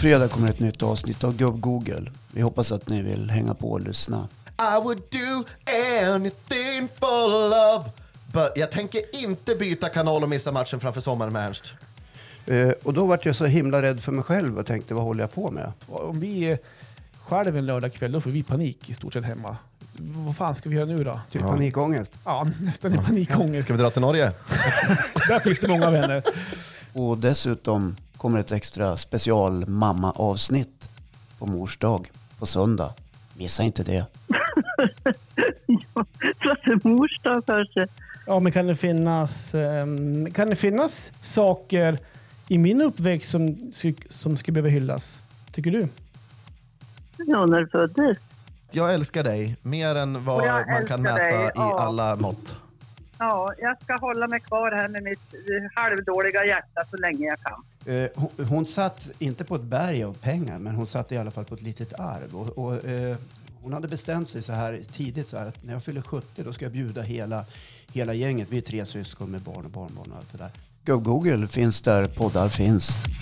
fredag kommer ett nytt avsnitt av Gubb-Google. Vi hoppas att ni vill hänga på och lyssna. I would do anything for love. But jag tänker inte byta kanal och missa matchen framför sommaren med Ernst. Eh, och då vart jag så himla rädd för mig själv och tänkte, vad håller jag på med? Om vi eh, skälver en lördagkväll, då får vi panik i stort sett hemma. Vad fan ska vi göra nu då? Typ panikångest. Ja, nästan i panikångest. Ska vi dra till Norge? Där finns det många vänner. Och dessutom kommer ett extra special mamma-avsnitt på mors dag på söndag. Missa inte det. Ja, så att det är mors dag kanske. Ja, men kan det finnas, ehm, kan det finnas saker i min uppväxt som, sk- som skulle behöva hyllas? Tycker du? Ja, när du föddes. Jag älskar dig mer än Och vad jag man kan mäta älskar dig, i ja. alla mått. Ja, jag ska hålla mig kvar här med mitt eh, halvdåliga hjärta så länge jag kan. Eh, hon, hon satt, inte på ett berg av pengar, men hon satt i alla fall på ett litet arv. Och, och, eh, hon hade bestämt sig så här tidigt så här, att när jag fyller 70 då ska jag bjuda hela, hela gänget. Vi är tre syskon med barn och barnbarn och allt det där. Google finns där poddar finns.